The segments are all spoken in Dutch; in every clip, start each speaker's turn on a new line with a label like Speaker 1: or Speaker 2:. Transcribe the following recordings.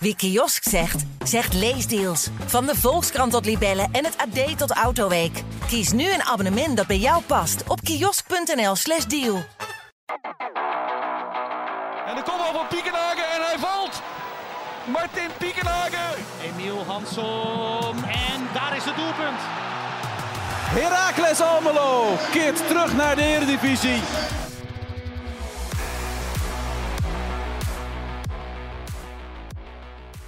Speaker 1: Wie kiosk zegt, zegt leesdeals. Van de Volkskrant tot Libellen en het AD tot Autoweek. Kies nu een abonnement dat bij jou past op kiosk.nl/slash deal.
Speaker 2: En de kopbal van Piekenhagen en hij valt. Martin Piekenhagen.
Speaker 3: Emiel Hansom. En daar is het doelpunt.
Speaker 4: Heracles Almelo keert terug naar de Eredivisie.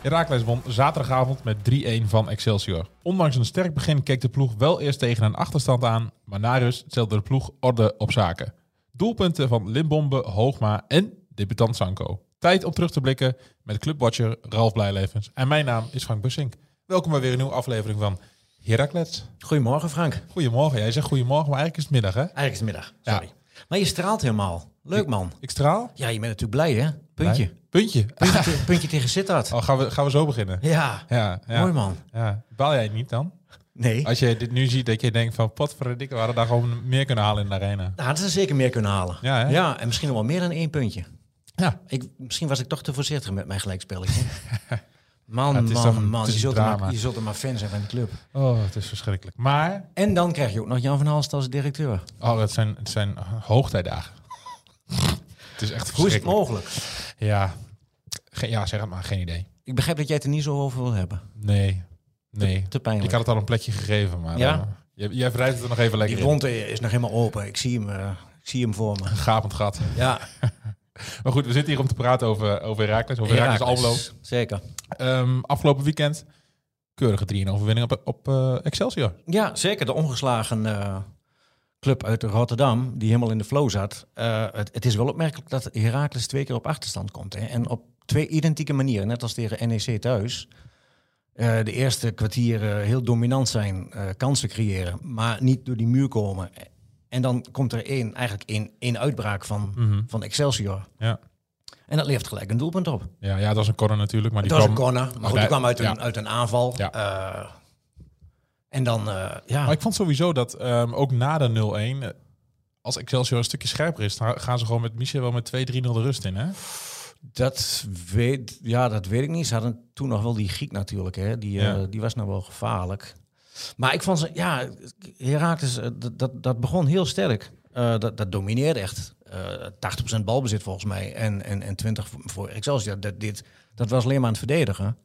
Speaker 5: Herakles won zaterdagavond met 3-1 van Excelsior. Ondanks een sterk begin keek de ploeg wel eerst tegen een achterstand aan, maar na rust stelde de ploeg orde op zaken. Doelpunten van Limbombe, Hoogma en debutant Sanko. Tijd om terug te blikken met clubwatcher Ralf Blijlevens. En mijn naam is Frank Bussink. Welkom bij weer een nieuwe aflevering van Herakles.
Speaker 6: Goedemorgen Frank.
Speaker 5: Goedemorgen. Jij zegt goedemorgen, maar eigenlijk is het middag hè?
Speaker 6: Eigenlijk is het middag,
Speaker 5: Ja.
Speaker 6: sorry. Maar je straalt helemaal. Leuk man.
Speaker 5: Ik straal.
Speaker 6: Ja, je bent natuurlijk blij hè? Puntje.
Speaker 5: Puntje.
Speaker 6: Puntje, te- puntje tegen Sittard.
Speaker 5: Oh, gaan, we, gaan we zo beginnen?
Speaker 6: Ja.
Speaker 5: Ja, ja.
Speaker 6: mooi man. Nou,
Speaker 5: Ja. Baal jij niet dan?
Speaker 6: Nee,
Speaker 5: Als je dit nu ziet, dat je denkt van potverdikke, we hadden daar gewoon meer kunnen halen in de arena.
Speaker 6: daar hadden ze zeker meer kunnen halen.
Speaker 5: Ja, hè?
Speaker 6: ja en misschien nog wel meer dan één puntje.
Speaker 5: Ja.
Speaker 6: Ik, misschien was ik toch te voorzichtig met mijn gelijkspelletje. Man,
Speaker 5: het is toch
Speaker 6: man,
Speaker 5: een-
Speaker 6: man.
Speaker 5: het is
Speaker 6: Je
Speaker 5: een
Speaker 6: zult, er
Speaker 5: drama.
Speaker 6: maar, je zult er maar fan zijn van de club.
Speaker 5: Oh, het is verschrikkelijk. Maar,
Speaker 6: En dan krijg je ook nog Jan van Halst als directeur.
Speaker 5: oh, het zijn, het zijn hoogtijdagen. het is echt
Speaker 6: Hoe is het
Speaker 5: verschrikkelijk.
Speaker 6: mogelijk?
Speaker 5: ja. Ge- ja, zeg het maar, geen idee.
Speaker 6: Ik begrijp dat jij het er niet zo over wil hebben.
Speaker 5: Nee, nee.
Speaker 6: Te
Speaker 5: Ik
Speaker 6: pijnlijk.
Speaker 5: had het al een plekje gegeven, maar
Speaker 6: Ja?
Speaker 5: eh, jij, jij wrijft het er nog even lekker
Speaker 6: Die
Speaker 5: in.
Speaker 6: wond eh, is nog helemaal open. Ik zie hem, eh, ik zie hem voor me.
Speaker 5: Een gapend gat.
Speaker 6: Ja,
Speaker 5: Maar goed, we zitten hier om te praten over, over Herakles, over Herakles Almelo.
Speaker 6: Zeker.
Speaker 5: Ehm, afgelopen weekend, keurige 3-1 overwinning op, op eh, Excelsior.
Speaker 6: Ja, zeker. De ongeslagen eh, club uit Rotterdam, die helemaal in de flow zat. Eh, het, het is wel opmerkelijk dat Heracles twee keer op achterstand komt. Hè? En op twee identieke manieren, net als tegen NEC thuis. Eh, de eerste kwartier eh, heel dominant zijn, eh, kansen creëren, maar niet door die muur komen. En dan komt er één, eigenlijk één, één uitbraak van,
Speaker 5: Mhm.
Speaker 6: van Excelsior.
Speaker 5: Ja.
Speaker 6: En dat levert gelijk een doelpunt op.
Speaker 5: Ja, ja, dat was een corner natuurlijk, maar die
Speaker 6: Het was een
Speaker 5: kwam-
Speaker 6: corner, maar goed, die
Speaker 5: daar-
Speaker 6: kwam uit een,
Speaker 5: ja.
Speaker 6: uit een aanval.
Speaker 5: Ja.
Speaker 6: Eh, en dan, eh, ja.
Speaker 5: Maar ik vond sowieso dat ehm, ook na de 0-1, eh, als Excelsior een stukje scherper is, dan gaan ze gewoon met Michel wel met 2-3-0 de rust in. Hè?
Speaker 6: Dat weet, ja, dat weet ik niet. Ze hadden toen nog wel die Griek natuurlijk. Hè? Die, eh,
Speaker 5: Ja.
Speaker 6: die was nou wel gevaarlijk. Maar ik vond ze, ja, Herakles, eh, dat, dat, dat begon heel sterk. Eh, dat, dat domineerde echt. Eh 80% balbezit volgens mij. En, en, en 20 voor- voor Excelsior. Dat, dit, dat was alleen maar aan het verdedigen.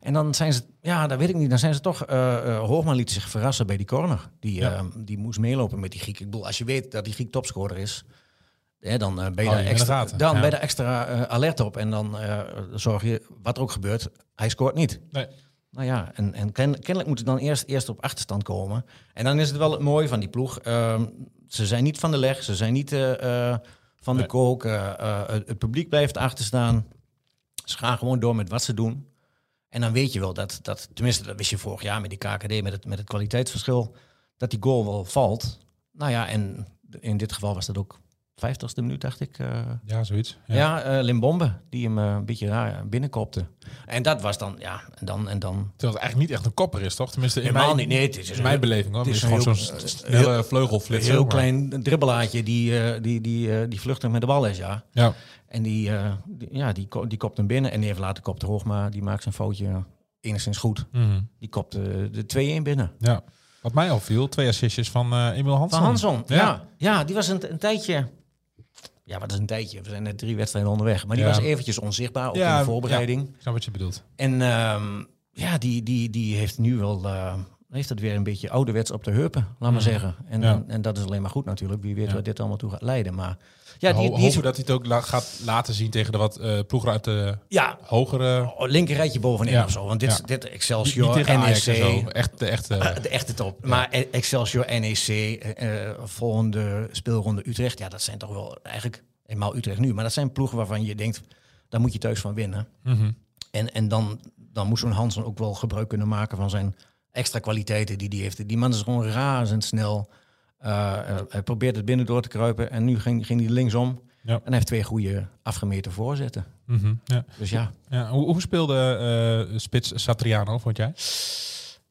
Speaker 6: En dan zijn ze, ja, dat weet ik niet. Dan zijn ze toch, eh, eh, Hoogman liet zich verrassen bij die corner. Die, eh, die moest meelopen met die Griek. Ik bedoel, als je weet dat die Griek topscorer is, hè, dan eh, ben je
Speaker 5: Hou je
Speaker 6: daar
Speaker 5: hem in de
Speaker 6: extra,
Speaker 5: gaten,
Speaker 6: dan
Speaker 5: ja.
Speaker 6: ben je daar extra eh, alert op. En dan eh, zorg je, wat er ook gebeurt, hij scoort niet.
Speaker 5: Nee.
Speaker 6: Nou ja, en, en ken- kennelijk moet het dan eerst, eerst op achterstand komen. En dan is het wel het mooie van die ploeg. Ehm, ze zijn niet van de leg, ze zijn niet eh, eh, van de
Speaker 5: Nee.
Speaker 6: kook. eh, eh, het het publiek blijft achterstaan. Ze gaan gewoon door met wat ze doen. En dan weet je wel dat, dat tenminste dat wist je vorig jaar met die KKD, met het, met het kwaliteitsverschil, dat die goal wel valt. Nou ja, en in dit geval was dat ook 50ste minuut, dacht ik. eh,
Speaker 5: Ja, zoiets. Ja.
Speaker 6: ja, eh Limbombe, die hem eh, een beetje raar binnenkopte. En dat was dan, ja, en dan... En dan
Speaker 5: Terwijl het eigenlijk niet echt een kopper is, toch? Tenminste, in
Speaker 6: helemaal
Speaker 5: mijn,
Speaker 6: niet, nee, het is,
Speaker 5: in mijn beleving hoor.
Speaker 6: het
Speaker 5: Het is
Speaker 6: is
Speaker 5: gewoon
Speaker 6: een
Speaker 5: zo'n
Speaker 6: heel-
Speaker 5: s- snelle
Speaker 6: een
Speaker 5: vleugelflits.
Speaker 6: heel
Speaker 5: zeg maar.
Speaker 6: klein dribbelaatje die, eh, die, die, eh, die vluchtig met de bal is, ja.
Speaker 5: Ja.
Speaker 6: En die, eh, die- ja, die, ko- die kopt hem binnen en even later kopt Hoogma, die maakt zijn foutje enigszins goed.
Speaker 5: Mhm.
Speaker 6: Die kopte de 2-1 binnen.
Speaker 5: ja. Wat mij opviel, twee assistjes van eh Emil Hansen.
Speaker 6: Van Hanson, ja.
Speaker 5: Ja.
Speaker 6: ja. die was een, een tijdje... Ja, wat is een tijdje? We zijn net drie wedstrijden onderweg. Maar die
Speaker 5: Ja.
Speaker 6: was eventjes onzichtbaar, ook
Speaker 5: Ja,
Speaker 6: in de voorbereiding.
Speaker 5: Ik snap wat je bedoelt.
Speaker 6: En ehm, ja, die, die, die heeft nu wel... eh, heeft het weer een beetje ouderwets op de heupen, laat maar zeggen. En,
Speaker 5: Mhm. Ja.
Speaker 6: en, en dat is alleen maar goed natuurlijk. Wie weet
Speaker 5: Ja.
Speaker 6: waar dit allemaal toe gaat leiden. Maar ja,
Speaker 5: Ho-
Speaker 6: die, die
Speaker 5: hopen
Speaker 6: is-
Speaker 5: dat hij het ook la- gaat laten zien tegen de wat eh, ploegen uit de
Speaker 6: ja
Speaker 5: hogere...
Speaker 6: linker rijtje bovenin
Speaker 5: Ja.
Speaker 6: of zo. Want dit,
Speaker 5: Ja.
Speaker 6: dit
Speaker 5: Niet, niet
Speaker 6: Excelsior, E
Speaker 5: tegen Ajax en
Speaker 6: NEC,
Speaker 5: zo. Echt, de echte...
Speaker 6: Eh, de echte top. Maar E- Excelsior, NEC, eh, eh, volgende speelronde Utrecht. Ja, dat zijn toch wel eigenlijk eenmaal Utrecht nu. Maar dat zijn ploegen waarvan je denkt, daar moet je thuis van winnen.
Speaker 5: Mhm.
Speaker 6: En, en dan, dan moet zo'n Hansen ook wel gebruik kunnen maken van zijn extra kwaliteiten die hij heeft. Die man is gewoon razendsnel. Eh, eh, hij probeert het binnen door te kruipen en nu ging, ging hij linksom.
Speaker 5: Ja.
Speaker 6: En hij heeft twee goede afgemeten voorzetten.
Speaker 5: Mhm. Ja.
Speaker 6: Dus ja,
Speaker 5: Ja, hoe, hoe speelde eh, spits Satriano, vond jij?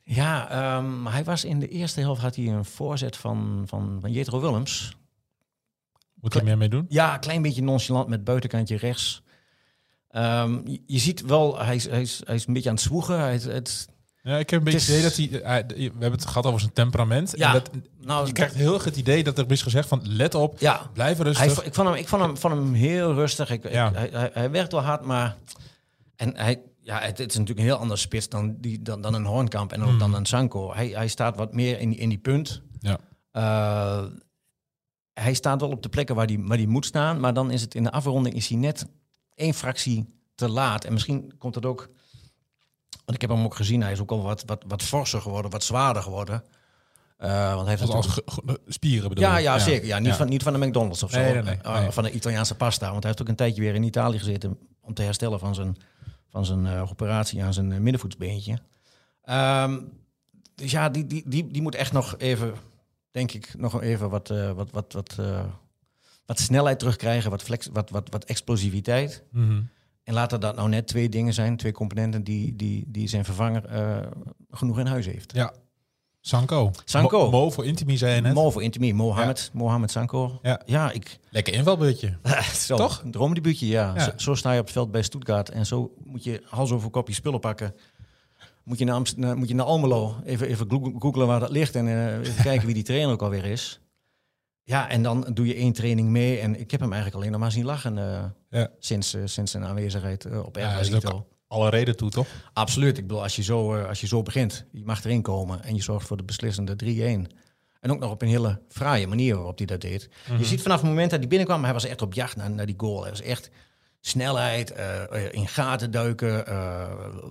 Speaker 6: Ja, ehm, hij was in de eerste helft had hij een voorzet van, van, van Jetro Willems.
Speaker 5: Moet hij meer mee doen?
Speaker 6: Ja, een klein beetje nonchalant met buitenkantje rechts. Ehm, je, je ziet wel, hij is, hij, is, hij is een beetje aan het zwoegen. Hij, is- het,
Speaker 5: Ja, ik heb een beetje het
Speaker 6: Het
Speaker 5: idee dat hij, eh, hij- We hebben het gehad over zijn temperament.
Speaker 6: Ja,
Speaker 5: en dat,
Speaker 6: nou,
Speaker 5: je krijgt heel erg het idee dat er is gezegd van... Let op,
Speaker 6: ja,
Speaker 5: blijf
Speaker 6: hij,
Speaker 5: rustig.
Speaker 6: ik vond hem, ik vond hem, vond hem heel rustig. Ik, ik-
Speaker 5: Ja.
Speaker 6: hij, hij, hij werkt wel hard, maar... En hij, ja, het, het is natuurlijk een heel ander spits dan, die, dan, dan een Hoornkamp en ook dan een Sanko. Hij, hij staat wat meer in, die- in die punt.
Speaker 5: Hmm. ja.
Speaker 6: Eh, hij staat wel op de plekken waar hij waar die moet staan. Maar dan is het in de afronding is hij net één fractie te laat. En misschien komt dat ook... Want ik heb hem ook gezien. Hij is ook al wat, wat, wat forser geworden, wat zwaarder geworden. Eh, want hij heeft
Speaker 5: Als, als
Speaker 6: natuurlijk-
Speaker 5: ge- ge- spieren bedoel
Speaker 6: ja,
Speaker 5: je?
Speaker 6: ja, zeker. Ja, niet, Van, niet van de McDonald's of zo.
Speaker 5: Nee, nee, nee,
Speaker 6: Eh,
Speaker 5: nee.
Speaker 6: Van de Italiaanse pasta. Want hij heeft ook een tijdje weer in Italië gezeten om te herstellen van zijn, van zijn eh, operatie aan zijn eh, middenvoetsbeentje. Ehm, dus ja, die, die, die, die moet echt nog even, denk ik, nog even wat, eh, wat, wat, wat, eh, wat snelheid terugkrijgen, wat, flex, wat, wat, wat explosiviteit.
Speaker 5: Mhm.
Speaker 6: En laten dat nou net twee dingen zijn, twee componenten die, die, die zijn vervanger eh, genoeg in huis heeft.
Speaker 5: Ja. Sanko.
Speaker 6: Sanko.
Speaker 5: Mo, Mo voor Intimi zei je net.
Speaker 6: Mo voor Intimi, Mohamed, Mohamed Sanko.
Speaker 5: Ja.
Speaker 6: ja, ik,
Speaker 5: Lekker invalbeurtje.
Speaker 6: Zo,
Speaker 5: Toch?
Speaker 6: Een droomdebuutje, ja.
Speaker 5: Ja.
Speaker 6: Zo, zo sta je op het veld bij Stuttgart en zo moet je hals over kop je spullen pakken. Moet je naar, Amst- naar- moet je naar Almelo, even, even glo- googlen waar dat ligt en eh, even kijken wie die trainer ook alweer is. Ja, en dan doe je één training mee en ik heb hem eigenlijk alleen nog maar zien lachen eh,
Speaker 5: Ja.
Speaker 6: sinds, eh, sinds zijn aanwezigheid eh, op
Speaker 5: Ja, is
Speaker 6: Erfurt.
Speaker 5: er ook alle reden toe, toch?
Speaker 6: Absoluut. Ik bedoel, als je, zo, eh, als je zo begint, je mag erin komen en je zorgt voor de beslissende 3-1. En ook nog op een hele fraaie manier waarop hij dat deed.
Speaker 5: Mhm.
Speaker 6: Je ziet vanaf het moment dat hij binnenkwam, hij was echt op jacht naar, naar die goal. Hij was echt snelheid, eh, eh, in gaten duiken, eh,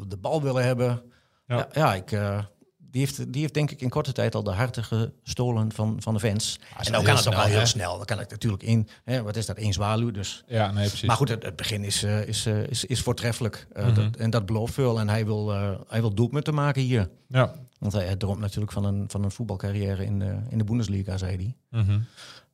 Speaker 6: de bal willen hebben.
Speaker 5: Ja.
Speaker 6: Ja, ja, ik, eh, die, heeft, die heeft denk ik in korte tijd al de harten gestolen van, van de fans. en
Speaker 5: wel
Speaker 6: dan kan
Speaker 5: Ah, heel
Speaker 6: het ook al
Speaker 5: snel,
Speaker 6: heel
Speaker 5: hè?
Speaker 6: snel. Dan kan het natuurlijk in, hè, wat is dat, één zwaluw. Dus
Speaker 5: Ja, nee, precies.
Speaker 6: maar goed, het, het begin is, eh, is, eh, is, is voortreffelijk. Eh, dat, en dat belooft veel. En hij wil, eh hij wil doelpunten maken hier.
Speaker 5: Ja.
Speaker 6: Want hij, hij droomt natuurlijk van een, van een voetbalcarrière in de, in de Bundesliga, zei hij.
Speaker 5: Mhm.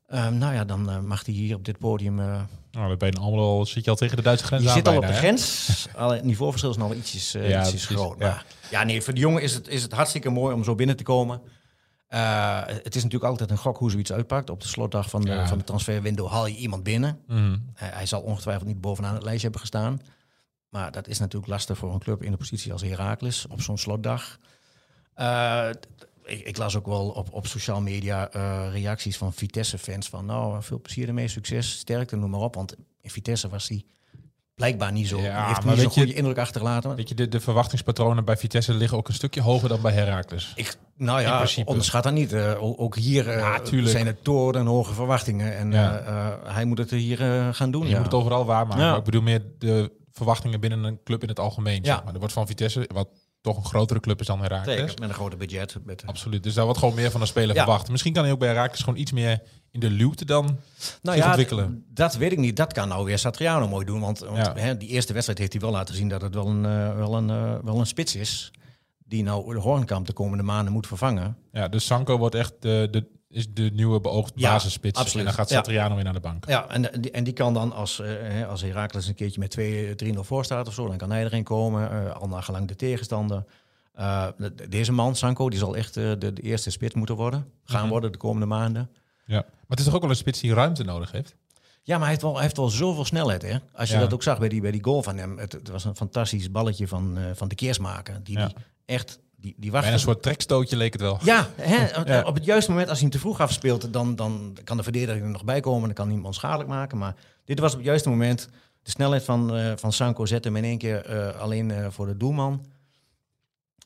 Speaker 6: Ehm, nou ja, dan eh, mag hij hier op dit podium... eh,
Speaker 5: Nou, bij een al zit je al tegen de Duitse grens
Speaker 6: je
Speaker 5: aan
Speaker 6: zit al op
Speaker 5: bijna,
Speaker 6: de
Speaker 5: hè?
Speaker 6: grens. Alleen het niveauverschil is nog wel ietsjes, eh,
Speaker 5: Ja,
Speaker 6: ietsjes
Speaker 5: precies,
Speaker 6: groot.
Speaker 5: ja.
Speaker 6: Maar ja. nee, voor de jongen is het, is het hartstikke mooi om zo binnen te komen. Eh, het is natuurlijk altijd een gok hoe zoiets uitpakt. Op de slotdag van de,
Speaker 5: Ja.
Speaker 6: van de transferwindow haal je iemand binnen.
Speaker 5: Mhm.
Speaker 6: Hij, hij zal ongetwijfeld niet bovenaan het lijstje hebben gestaan. Maar dat is natuurlijk lastig voor een club in de positie als Heracles op zo'n slotdag. Eh, t- ik, ik las ook wel op, op social media eh, reacties van Vitesse-fans van... nou, veel plezier ermee, succes, sterkte, noem maar op. Want in Vitesse was hij blijkbaar niet zo...
Speaker 5: Ja,
Speaker 6: heeft
Speaker 5: maar
Speaker 6: niet zo'n
Speaker 5: weet je-
Speaker 6: goede indruk achtergelaten. Maar
Speaker 5: Weet je, de, de verwachtingspatronen bij Vitesse liggen ook een stukje hoger dan bij Heracles.
Speaker 6: ik, nou
Speaker 5: in
Speaker 6: ja,
Speaker 5: principe.
Speaker 6: onderschat dat niet. Eh, o- ook hier eh,
Speaker 5: Ja, tuurlijk.
Speaker 6: zijn er torenhoge verwachtingen. En
Speaker 5: Ja.
Speaker 6: eh, eh, hij moet het hier eh, gaan doen.
Speaker 5: Je
Speaker 6: ja.
Speaker 5: moet het overal waarmaken.
Speaker 6: Ja.
Speaker 5: Maar ik bedoel meer de verwachtingen binnen een club in het algemeen.
Speaker 6: Ja.
Speaker 5: Zeg maar. Er wordt van Vitesse, wat toch een grotere club is dan Heracles.
Speaker 6: Zeker, met een grote budget. Met,
Speaker 5: Absoluut. Dus daar wordt gewoon meer van een speler
Speaker 6: Ja.
Speaker 5: verwacht. Misschien kan hij ook bij Heracles gewoon iets meer in de luwte dan
Speaker 6: nou
Speaker 5: zich
Speaker 6: ja,
Speaker 5: ontwikkelen.
Speaker 6: d- Dat weet ik niet. Dat kan nou weer Satriano mooi doen. Want, want
Speaker 5: Ja.
Speaker 6: hè, die eerste wedstrijd heeft hij wel laten zien dat het wel een, eh, wel een, eh, wel een spits is. Die nou de Hoornkamp de komende maanden moet vervangen.
Speaker 5: Ja, dus Sanko wordt echt de, de, is de nieuwe beoogd
Speaker 6: Ja,
Speaker 5: basisspits.
Speaker 6: absoluut.
Speaker 5: En dan gaat
Speaker 6: Ja.
Speaker 5: Satriano weer naar de bank.
Speaker 6: Ja, en, eh, die- en die kan dan als, eh, hè, als Herakles een keertje met 2 3-0 voor staat of zo, dan kan hij erin komen. eh al naar gelang de tegenstander. Eh, de- de- deze man, Sanko, die zal echt eh, de, de eerste spits moeten worden. Gaan
Speaker 5: Mhm.
Speaker 6: worden de komende maanden.
Speaker 5: Ja. Maar het is toch ook wel een spits die ruimte nodig heeft?
Speaker 6: Ja, maar hij heeft wel, hij heeft wel zoveel snelheid. Hè? Als je
Speaker 5: Ja.
Speaker 6: dat ook zag bij die, bij die goal van hem. Het, het was een fantastisch balletje van, eh, van de keersmaker. Die,
Speaker 5: Ja.
Speaker 6: die echt, die, die
Speaker 5: Bijna
Speaker 6: wachtte.
Speaker 5: een soort trekstootje leek het wel.
Speaker 6: Ja, hè,
Speaker 5: Ja.
Speaker 6: op het juiste moment als hij hem te vroeg afspeelt, dan, dan kan de verdediger er nog bij komen. Dan kan hij hem onschadelijk maken. Maar dit was op het juiste moment. De snelheid van, eh, van Sanko zette hem in één keer eh, alleen eh, voor de doelman.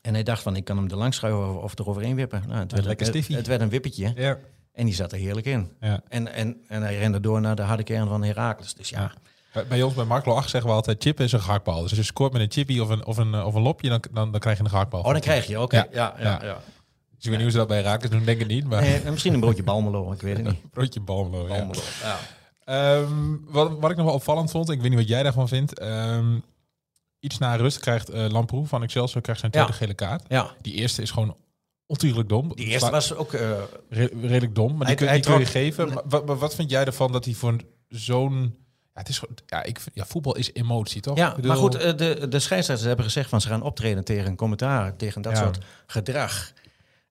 Speaker 6: En hij dacht van, ik kan hem er langs schuiven of, of eroverheen wippen. Nou, het, werd,
Speaker 5: lekker
Speaker 6: het,
Speaker 5: stiffie.
Speaker 6: het werd een wippetje.
Speaker 5: Ja.
Speaker 6: En die zat er heerlijk in.
Speaker 5: Ja.
Speaker 6: En, en, en hij rende door naar de harde kern van Herakles. Dus ja.
Speaker 5: Bij, bij ons bij Marklo 8 zeggen we altijd chip is een gehaktbal. Dus als je scoort met een chippy of een, of een, of een lopje, dan, dan, dan krijg je een gehaktbal.
Speaker 6: Oh, dan krijg je, oké.
Speaker 5: Ja.
Speaker 6: Ja, ja,
Speaker 5: Ja.
Speaker 6: ja.
Speaker 5: Dus ik weet niet hoe ze dat bij Heracles doen, denk ik niet. Maar
Speaker 6: Eh, misschien een broodje Balmelo, ik weet het niet.
Speaker 5: broodje Balmelo. Ja.
Speaker 6: Balmelo, ja.
Speaker 5: Ehm, wat, wat ik nog wel opvallend vond, ik weet niet wat jij daarvan vindt. ehm, iets na rust krijgt eh Lamproe van Excelsior krijgt zijn tweede
Speaker 6: Ja.
Speaker 5: gele kaart.
Speaker 6: ja.
Speaker 5: Die eerste is gewoon ontiegelijk dom.
Speaker 6: Die eerste
Speaker 5: Sla-
Speaker 6: was ook... eh,
Speaker 5: Re- redelijk dom, maar die,
Speaker 6: Hij-
Speaker 5: kun,
Speaker 6: hij
Speaker 5: die kun je
Speaker 6: trok-
Speaker 5: geven. Maar wat, maar wat vind jij ervan dat hij voor een- zo'n... Ja, het is, gewoon- ja, ik, vind- ja, voetbal is emotie, toch?
Speaker 6: ja,
Speaker 5: Oh, Ik bedoel-
Speaker 6: maar goed, eh, de, de scheidsrechters hebben gezegd van ze gaan optreden tegen commentaar, tegen dat
Speaker 5: Ja.
Speaker 6: soort gedrag.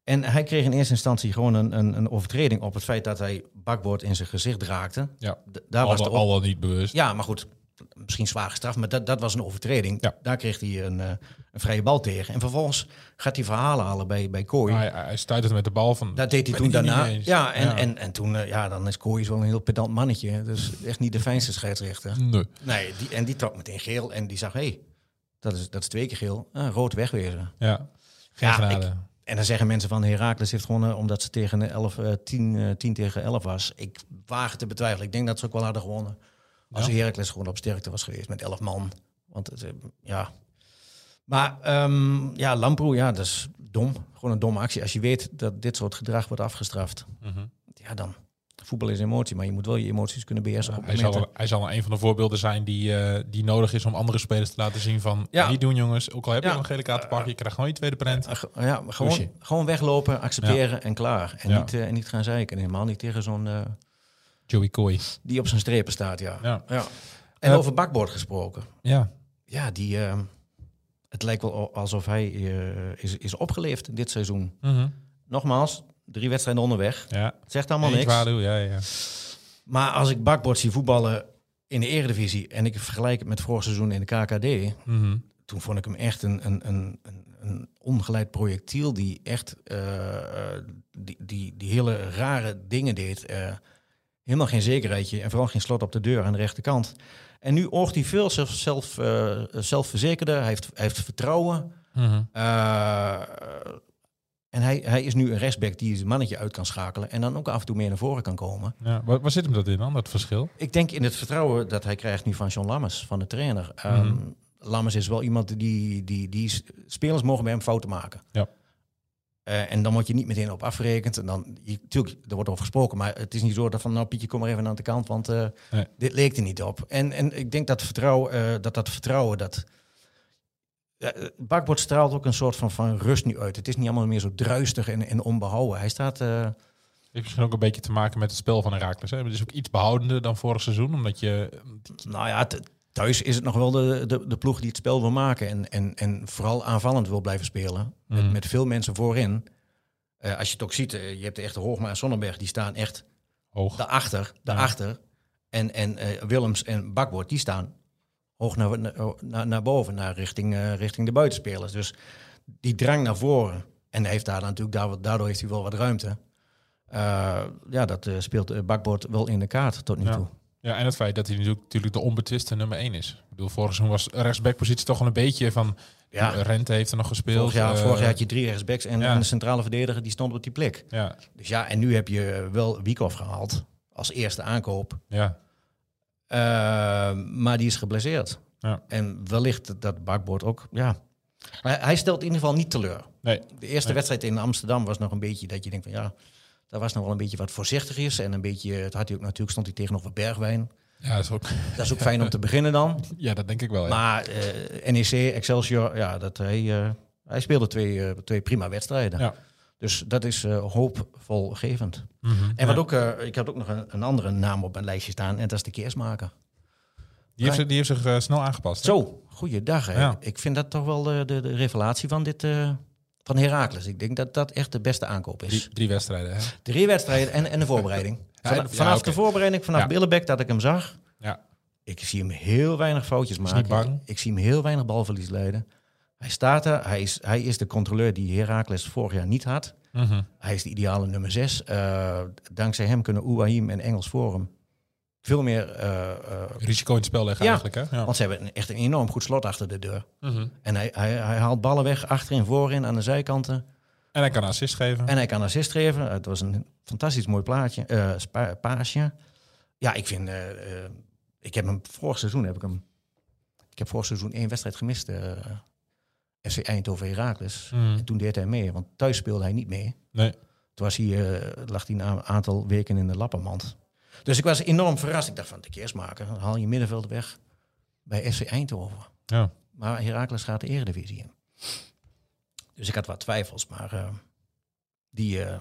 Speaker 6: En hij kreeg in eerste instantie gewoon een, een, een overtreding op het feit dat hij bakboord in zijn gezicht raakte.
Speaker 5: ja,
Speaker 6: D- daar
Speaker 5: al,
Speaker 6: was
Speaker 5: was
Speaker 6: de
Speaker 5: al,
Speaker 6: op-
Speaker 5: wel niet bewust.
Speaker 6: Ja, maar goed, misschien zwaar gestraft, maar dat, dat was een overtreding.
Speaker 5: Ja.
Speaker 6: Daar kreeg hij een, eh, een vrije bal tegen. En vervolgens gaat hij verhalen halen bij, bij Kooi.
Speaker 5: Hij, hij stuitert met de bal van...
Speaker 6: Dat deed
Speaker 5: ben
Speaker 6: hij toen
Speaker 5: ik het niet
Speaker 6: daarna.
Speaker 5: mee eens.
Speaker 6: Ja, en, En, en toen, eh, ja, dan is Kooijs wel een heel pedant mannetje. hè. Dus echt niet de fijnste scheidsrechter.
Speaker 5: Nee.
Speaker 6: Nee, die, en die trok meteen geel en die zag, hé, hey, dat, is, dat is twee keer geel. Ah, rood wegwezen.
Speaker 5: Ja. Geen
Speaker 6: Ja,
Speaker 5: genade.
Speaker 6: ik- en dan zeggen mensen van Herakles heeft gewonnen omdat ze tegen 11, eh 10, eh, 10 tegen 11 was. Ik wagen te betwijfelen. Ik denk dat ze ook wel hadden gewonnen. Als Herakles gewoon op sterkte was geweest met 11 man. Want het, eh, ja. Maar ehm, ja, Lamproe, ja, dat is dom. Gewoon een domme actie. Als je weet dat dit soort gedrag wordt afgestraft,
Speaker 5: Mhm.
Speaker 6: ja dan. Voetbal is emotie, maar je moet wel je emoties kunnen beheersen. op
Speaker 5: Hij zal,
Speaker 6: momenten.
Speaker 5: hij zal een van de voorbeelden zijn die, eh, die nodig is om andere spelers te laten zien van...
Speaker 6: Ja.
Speaker 5: Niet doen jongens, ook al heb je
Speaker 6: Ja.
Speaker 5: nog een gele kaart te pakken, je krijgt gewoon je tweede prent.
Speaker 6: Ah, ge- ja,
Speaker 5: Douche.
Speaker 6: gewoon, gewoon weglopen, accepteren en klaar. En,
Speaker 5: Ja.
Speaker 6: niet, eh, en niet gaan zeiken. En helemaal niet tegen zo'n... eh,
Speaker 5: Joey Coy.
Speaker 6: Die op zijn strepen staat, ja.
Speaker 5: Ja.
Speaker 6: ja. En
Speaker 5: Eh,
Speaker 6: over bakbord gesproken.
Speaker 5: Ja.
Speaker 6: Ja, die, eh, het lijkt wel al- alsof hij eh, is, is opgeleefd dit seizoen.
Speaker 5: Mhm.
Speaker 6: Nogmaals, drie wedstrijden onderweg.
Speaker 5: Ja.
Speaker 6: Het zegt allemaal
Speaker 5: Eén
Speaker 6: niks.
Speaker 5: zwaluw, ja, ja.
Speaker 6: Maar als ik bakbord zie voetballen in de eredivisie... en ik vergelijk het met vorig seizoen in de KKD...
Speaker 5: Mhm.
Speaker 6: toen vond ik hem echt een, een, een, een, een ongeleid projectiel... die echt eh, eh, die, die, die hele rare dingen deed... eh, helemaal geen zekerheidje en vooral geen slot op de deur aan de rechterkant. En nu oogt hij veel zelf, zelf, eh, zelfverzekerder, hij heeft, hij heeft vertrouwen.
Speaker 5: Mhm.
Speaker 6: Eh, en hij, hij is nu een rechtsback die zijn mannetje uit kan schakelen en dan ook af en toe meer naar voren kan komen.
Speaker 5: ja. Waar, waar zit hem dat in dan, dat verschil?
Speaker 6: Ik denk in het vertrouwen dat hij krijgt nu van John Lammers, van de trainer. Ehm,
Speaker 5: Mhm.
Speaker 6: Lammers is wel iemand die, die, die s- spelers mogen bij hem fouten maken.
Speaker 5: Ja.
Speaker 6: Eh, en dan word je niet meteen op afgerekend. En dan, je, tuurlijk, er wordt over gesproken, maar het is niet zo dat van, nou Pietje, kom maar even aan de kant, want eh,
Speaker 5: Nee.
Speaker 6: dit leek er niet op. En, en ik denk dat vertrouwen, eh, dat, dat vertrouwen, dat... Ja, eh, Bakbord straalt ook een soort van, van rust nu uit. Het is niet allemaal meer zo druistig en, en onbehouden. Hij staat... eh,
Speaker 5: Heeft misschien ook een beetje te maken met het spel van Herakles. hè? Het is ook iets behoudender dan vorig seizoen, omdat je... eh,
Speaker 6: Nou ja, th- thuis is het nog wel de, de, de ploeg die het spel wil maken. En, en, en vooral aanvallend wil blijven spelen. Met, met veel mensen voorin. Eh, als je het ook ziet, eh, je hebt de echte Hoogma en Sonnenberg. Die staan echt
Speaker 5: Hoog.
Speaker 6: daarachter. daarachter. En, en eh, Willems en Bakboord, die staan hoog naar, naar, naar, naar boven. Naar richting, eh, richting de buitenspelers. Dus die drang naar voren. En hij heeft daar dan natuurlijk, daar wat- daardoor heeft hij wel wat ruimte. Eh, ja, dat eh, speelt eh, Bakboord wel in de kaart tot nu
Speaker 5: Ja.
Speaker 6: toe.
Speaker 5: Ja, en het feit dat hij natuurlijk- natuurlijk de onbetwiste nummer 1 is. Ik bedoel, vorig seizoen was rechtsbackpositie toch wel een beetje van...
Speaker 6: Ja.
Speaker 5: eh, Rente heeft er nog gespeeld.
Speaker 6: Vorig jaar,
Speaker 5: eh,
Speaker 6: vorig jaar had je drie rechtsbacks en,
Speaker 5: ja.
Speaker 6: en de centrale verdediger die stond op die plek.
Speaker 5: Ja,
Speaker 6: Dus ja, en nu heb je wel Wiekoff gehaald als eerste aankoop.
Speaker 5: ja.
Speaker 6: Eh, maar die is geblesseerd.
Speaker 5: Ja.
Speaker 6: En wellicht dat bakbord ook. Ja. Maar hij stelt in ieder geval niet teleur.
Speaker 5: Nee,
Speaker 6: De eerste wedstrijd in Amsterdam was nog een beetje dat je denkt van ja, daar was nog wel een beetje wat voorzichtig is. En een beetje, het had hij ook natuurlijk, stond hij tegenover Bergwijn.
Speaker 5: ja, dat is ook,
Speaker 6: Dat is ook fijn om te beginnen dan.
Speaker 5: ja, dat denk ik wel. ja.
Speaker 6: Maar eh, NEC, Excelsior, ja, dat hij, eh, hij speelde twee, eh, twee prima wedstrijden.
Speaker 5: Ja.
Speaker 6: Dus dat is eh, hoopvolgevend.
Speaker 5: Mhm.
Speaker 6: En wat ook, eh, ik had ook nog een, een andere naam op mijn lijstje staan. En dat is de keersmaker.
Speaker 5: Die heeft, zich- die heeft zich eh, snel aangepast. hè?
Speaker 6: Zo, goeiedag. Hè.
Speaker 5: Ja.
Speaker 6: Ik vind dat toch wel eh, de, de revelatie van dit... eh, van Heracles. Ik denk dat dat echt de beste aankoop is.
Speaker 5: Drie, drie wedstrijden. Hè?
Speaker 6: Drie wedstrijden en, en de voorbereiding.
Speaker 5: Ja,
Speaker 6: Van-
Speaker 5: en- ja,
Speaker 6: vanaf
Speaker 5: oké.
Speaker 6: de voorbereiding, vanaf
Speaker 5: Ja.
Speaker 6: Billebek dat ik hem zag.
Speaker 5: Ja.
Speaker 6: Ik zie hem heel weinig foutjes maken.
Speaker 5: niet bang.
Speaker 6: Ik, ik zie hem heel weinig balverlies leiden. Hij staat er. Hij is, hij is de controleur die Heracles vorig jaar niet had.
Speaker 5: Mhm.
Speaker 6: Hij is de ideale nummer 6. dankzij hem kunnen Ouahim en Engels Forum veel meer... eh, eh,
Speaker 5: Risico in het spel leggen
Speaker 6: Ja.
Speaker 5: eigenlijk. Hè? Ja.
Speaker 6: want ze hebben een- echt een enorm goed slot achter de deur.
Speaker 5: Mhm.
Speaker 6: En hij, hij, hij haalt ballen weg, achterin, voorin, aan de zijkanten.
Speaker 5: En hij kan een assist geven.
Speaker 6: En hij kan assist geven. Eh, Het was een fantastisch mooi plaatje, eh, spa- paasje. Ja, ik vind... eh, eh, ik heb hem vorig seizoen heb ik hem... Ik heb vorig seizoen één wedstrijd gemist. eh, FC Eindhoven Heracles.
Speaker 5: Mhm.
Speaker 6: En toen deed hij mee, want thuis speelde hij niet mee.
Speaker 5: Nee.
Speaker 6: Toen was hij, eh, lag hij een aantal weken in de lappenmand. Dus ik was enorm verrast. Ik dacht van, de keersmaker, dan haal je middenveld weg bij FC Eindhoven.
Speaker 5: Ja.
Speaker 6: Maar Heracles gaat de Eredivisie in. Dus ik had wat twijfels, maar eh, die eh,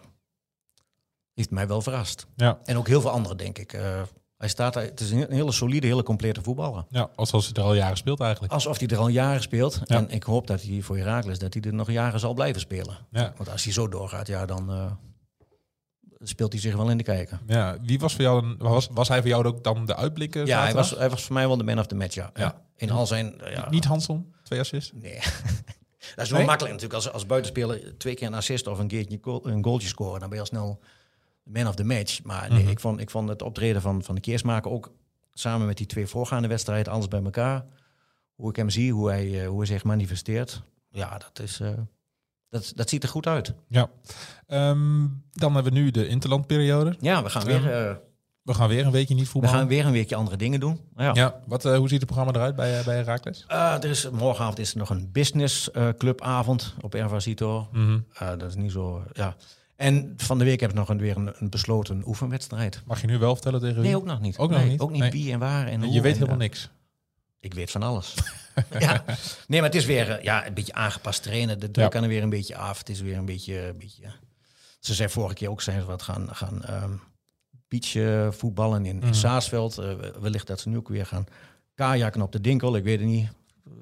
Speaker 6: heeft mij wel verrast.
Speaker 5: Ja.
Speaker 6: En ook heel veel anderen, denk ik. Eh, hij staat, daar- het is een hele solide, hele complete voetballer.
Speaker 5: Ja, of zoals hij er al jaren speelt eigenlijk.
Speaker 6: Alsof hij er al jaren speelt.
Speaker 5: Ja.
Speaker 6: En ik hoop dat hij voor Heracles dat hij er nog jaren zal blijven spelen.
Speaker 5: Ja.
Speaker 6: Want als hij zo doorgaat, ja, dan eh, speelt hij zich wel in de kijker.
Speaker 5: Ja, wie was, voor jou dan, was, was hij voor jou ook dan de uitblinker?
Speaker 6: Ja, hij
Speaker 5: zaterdag?
Speaker 6: was, hij was voor mij wel de man of the match, ja. ja. In al zijn... eh, Ja.
Speaker 5: Niet Hanson, twee assists.
Speaker 6: Nee. Dat is wel makkelijk natuurlijk. Als, als buitenspeler twee keer een assist of een, keertje goal- een goaltje scoren, dan ben je al snel de man of the match. Maar nee, ik, vond, ik vond het optreden van, van de Keersmaker ook samen met die twee voorgaande wedstrijden, alles bij elkaar. Hoe ik hem zie, hoe hij, eh, hoe hij zich manifesteert. Ja, dat, is, eh, dat, dat ziet er goed uit.
Speaker 5: Ja. Ehm, dan hebben we nu de interlandperiode.
Speaker 6: Ja, we gaan weer, eh,
Speaker 5: We gaan weer een weekje niet
Speaker 6: we
Speaker 5: voetballen.
Speaker 6: gaan weer een weekje andere dingen doen. Ja.
Speaker 5: Ja, wat, eh, hoe ziet het programma eruit bij, eh, bij Herakles?
Speaker 6: Eh, er is, morgenavond is er nog een business eh, clubavond op Ervasito. Eh, dat is niet zo. ja. En van de week heb ik nog een, weer een, een besloten oefenwedstrijd.
Speaker 5: Mag je nu wel vertellen tegen wie?
Speaker 6: Nee, ook nog niet.
Speaker 5: Ook nog
Speaker 6: Nee,
Speaker 5: niet?
Speaker 6: Ook niet
Speaker 5: Nee.
Speaker 6: wie en waar. En
Speaker 5: Je
Speaker 6: hoe
Speaker 5: weet
Speaker 6: en,
Speaker 5: helemaal
Speaker 6: eh,
Speaker 5: niks.
Speaker 6: Ik weet van alles. ja. Nee, maar het is weer eh, ja, een beetje aangepast trainen. De druk
Speaker 5: Ja.
Speaker 6: kan er weer een beetje af. Het is weer een beetje. Een beetje ja. Ze zijn vorige keer ook zijn ze wat gaan, gaan ehm beach eh, voetballen in, in
Speaker 5: Mhm.
Speaker 6: Saasveld. Eh, wellicht dat ze nu ook weer gaan kajakken op de Dinkel. Ik weet het niet.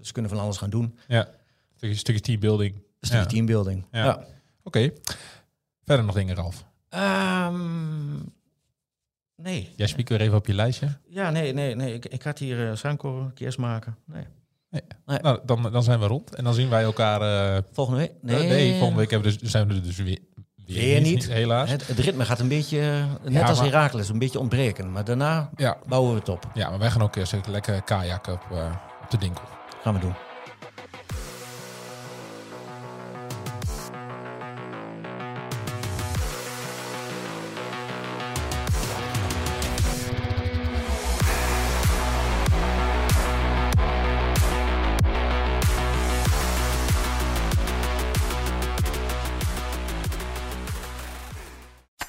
Speaker 6: Ze kunnen van alles gaan doen.
Speaker 5: Ja. Stukje, stukje teambuilding.
Speaker 6: Een stukje
Speaker 5: Ja.
Speaker 6: teambuilding.
Speaker 5: Ja.
Speaker 6: Ja.
Speaker 5: Oké. Verder nog dingen, Ralf.
Speaker 6: Ehm, nee.
Speaker 5: Jij spiekt weer even op je lijstje.
Speaker 6: Ja, nee, nee, nee. Ik, ik had hier eh Sanko keers maken. Nee.
Speaker 5: Nou, dan, dan zijn we rond. En dan zien wij elkaar... eh,
Speaker 6: Volgende week?
Speaker 5: nee. volgende week hebben we dus, zijn we er dus weer, weer
Speaker 6: Weer niet.
Speaker 5: Helaas.
Speaker 6: Het, het ritme gaat een beetje, eh, net
Speaker 5: Ja,
Speaker 6: als
Speaker 5: maar-
Speaker 6: Herakles, een beetje ontbreken. Maar daarna
Speaker 5: Ja.
Speaker 6: bouwen we het op.
Speaker 5: ja, maar wij gaan ook eens even lekker kajakken op, eh, op de dinkel.
Speaker 6: Gaan we doen.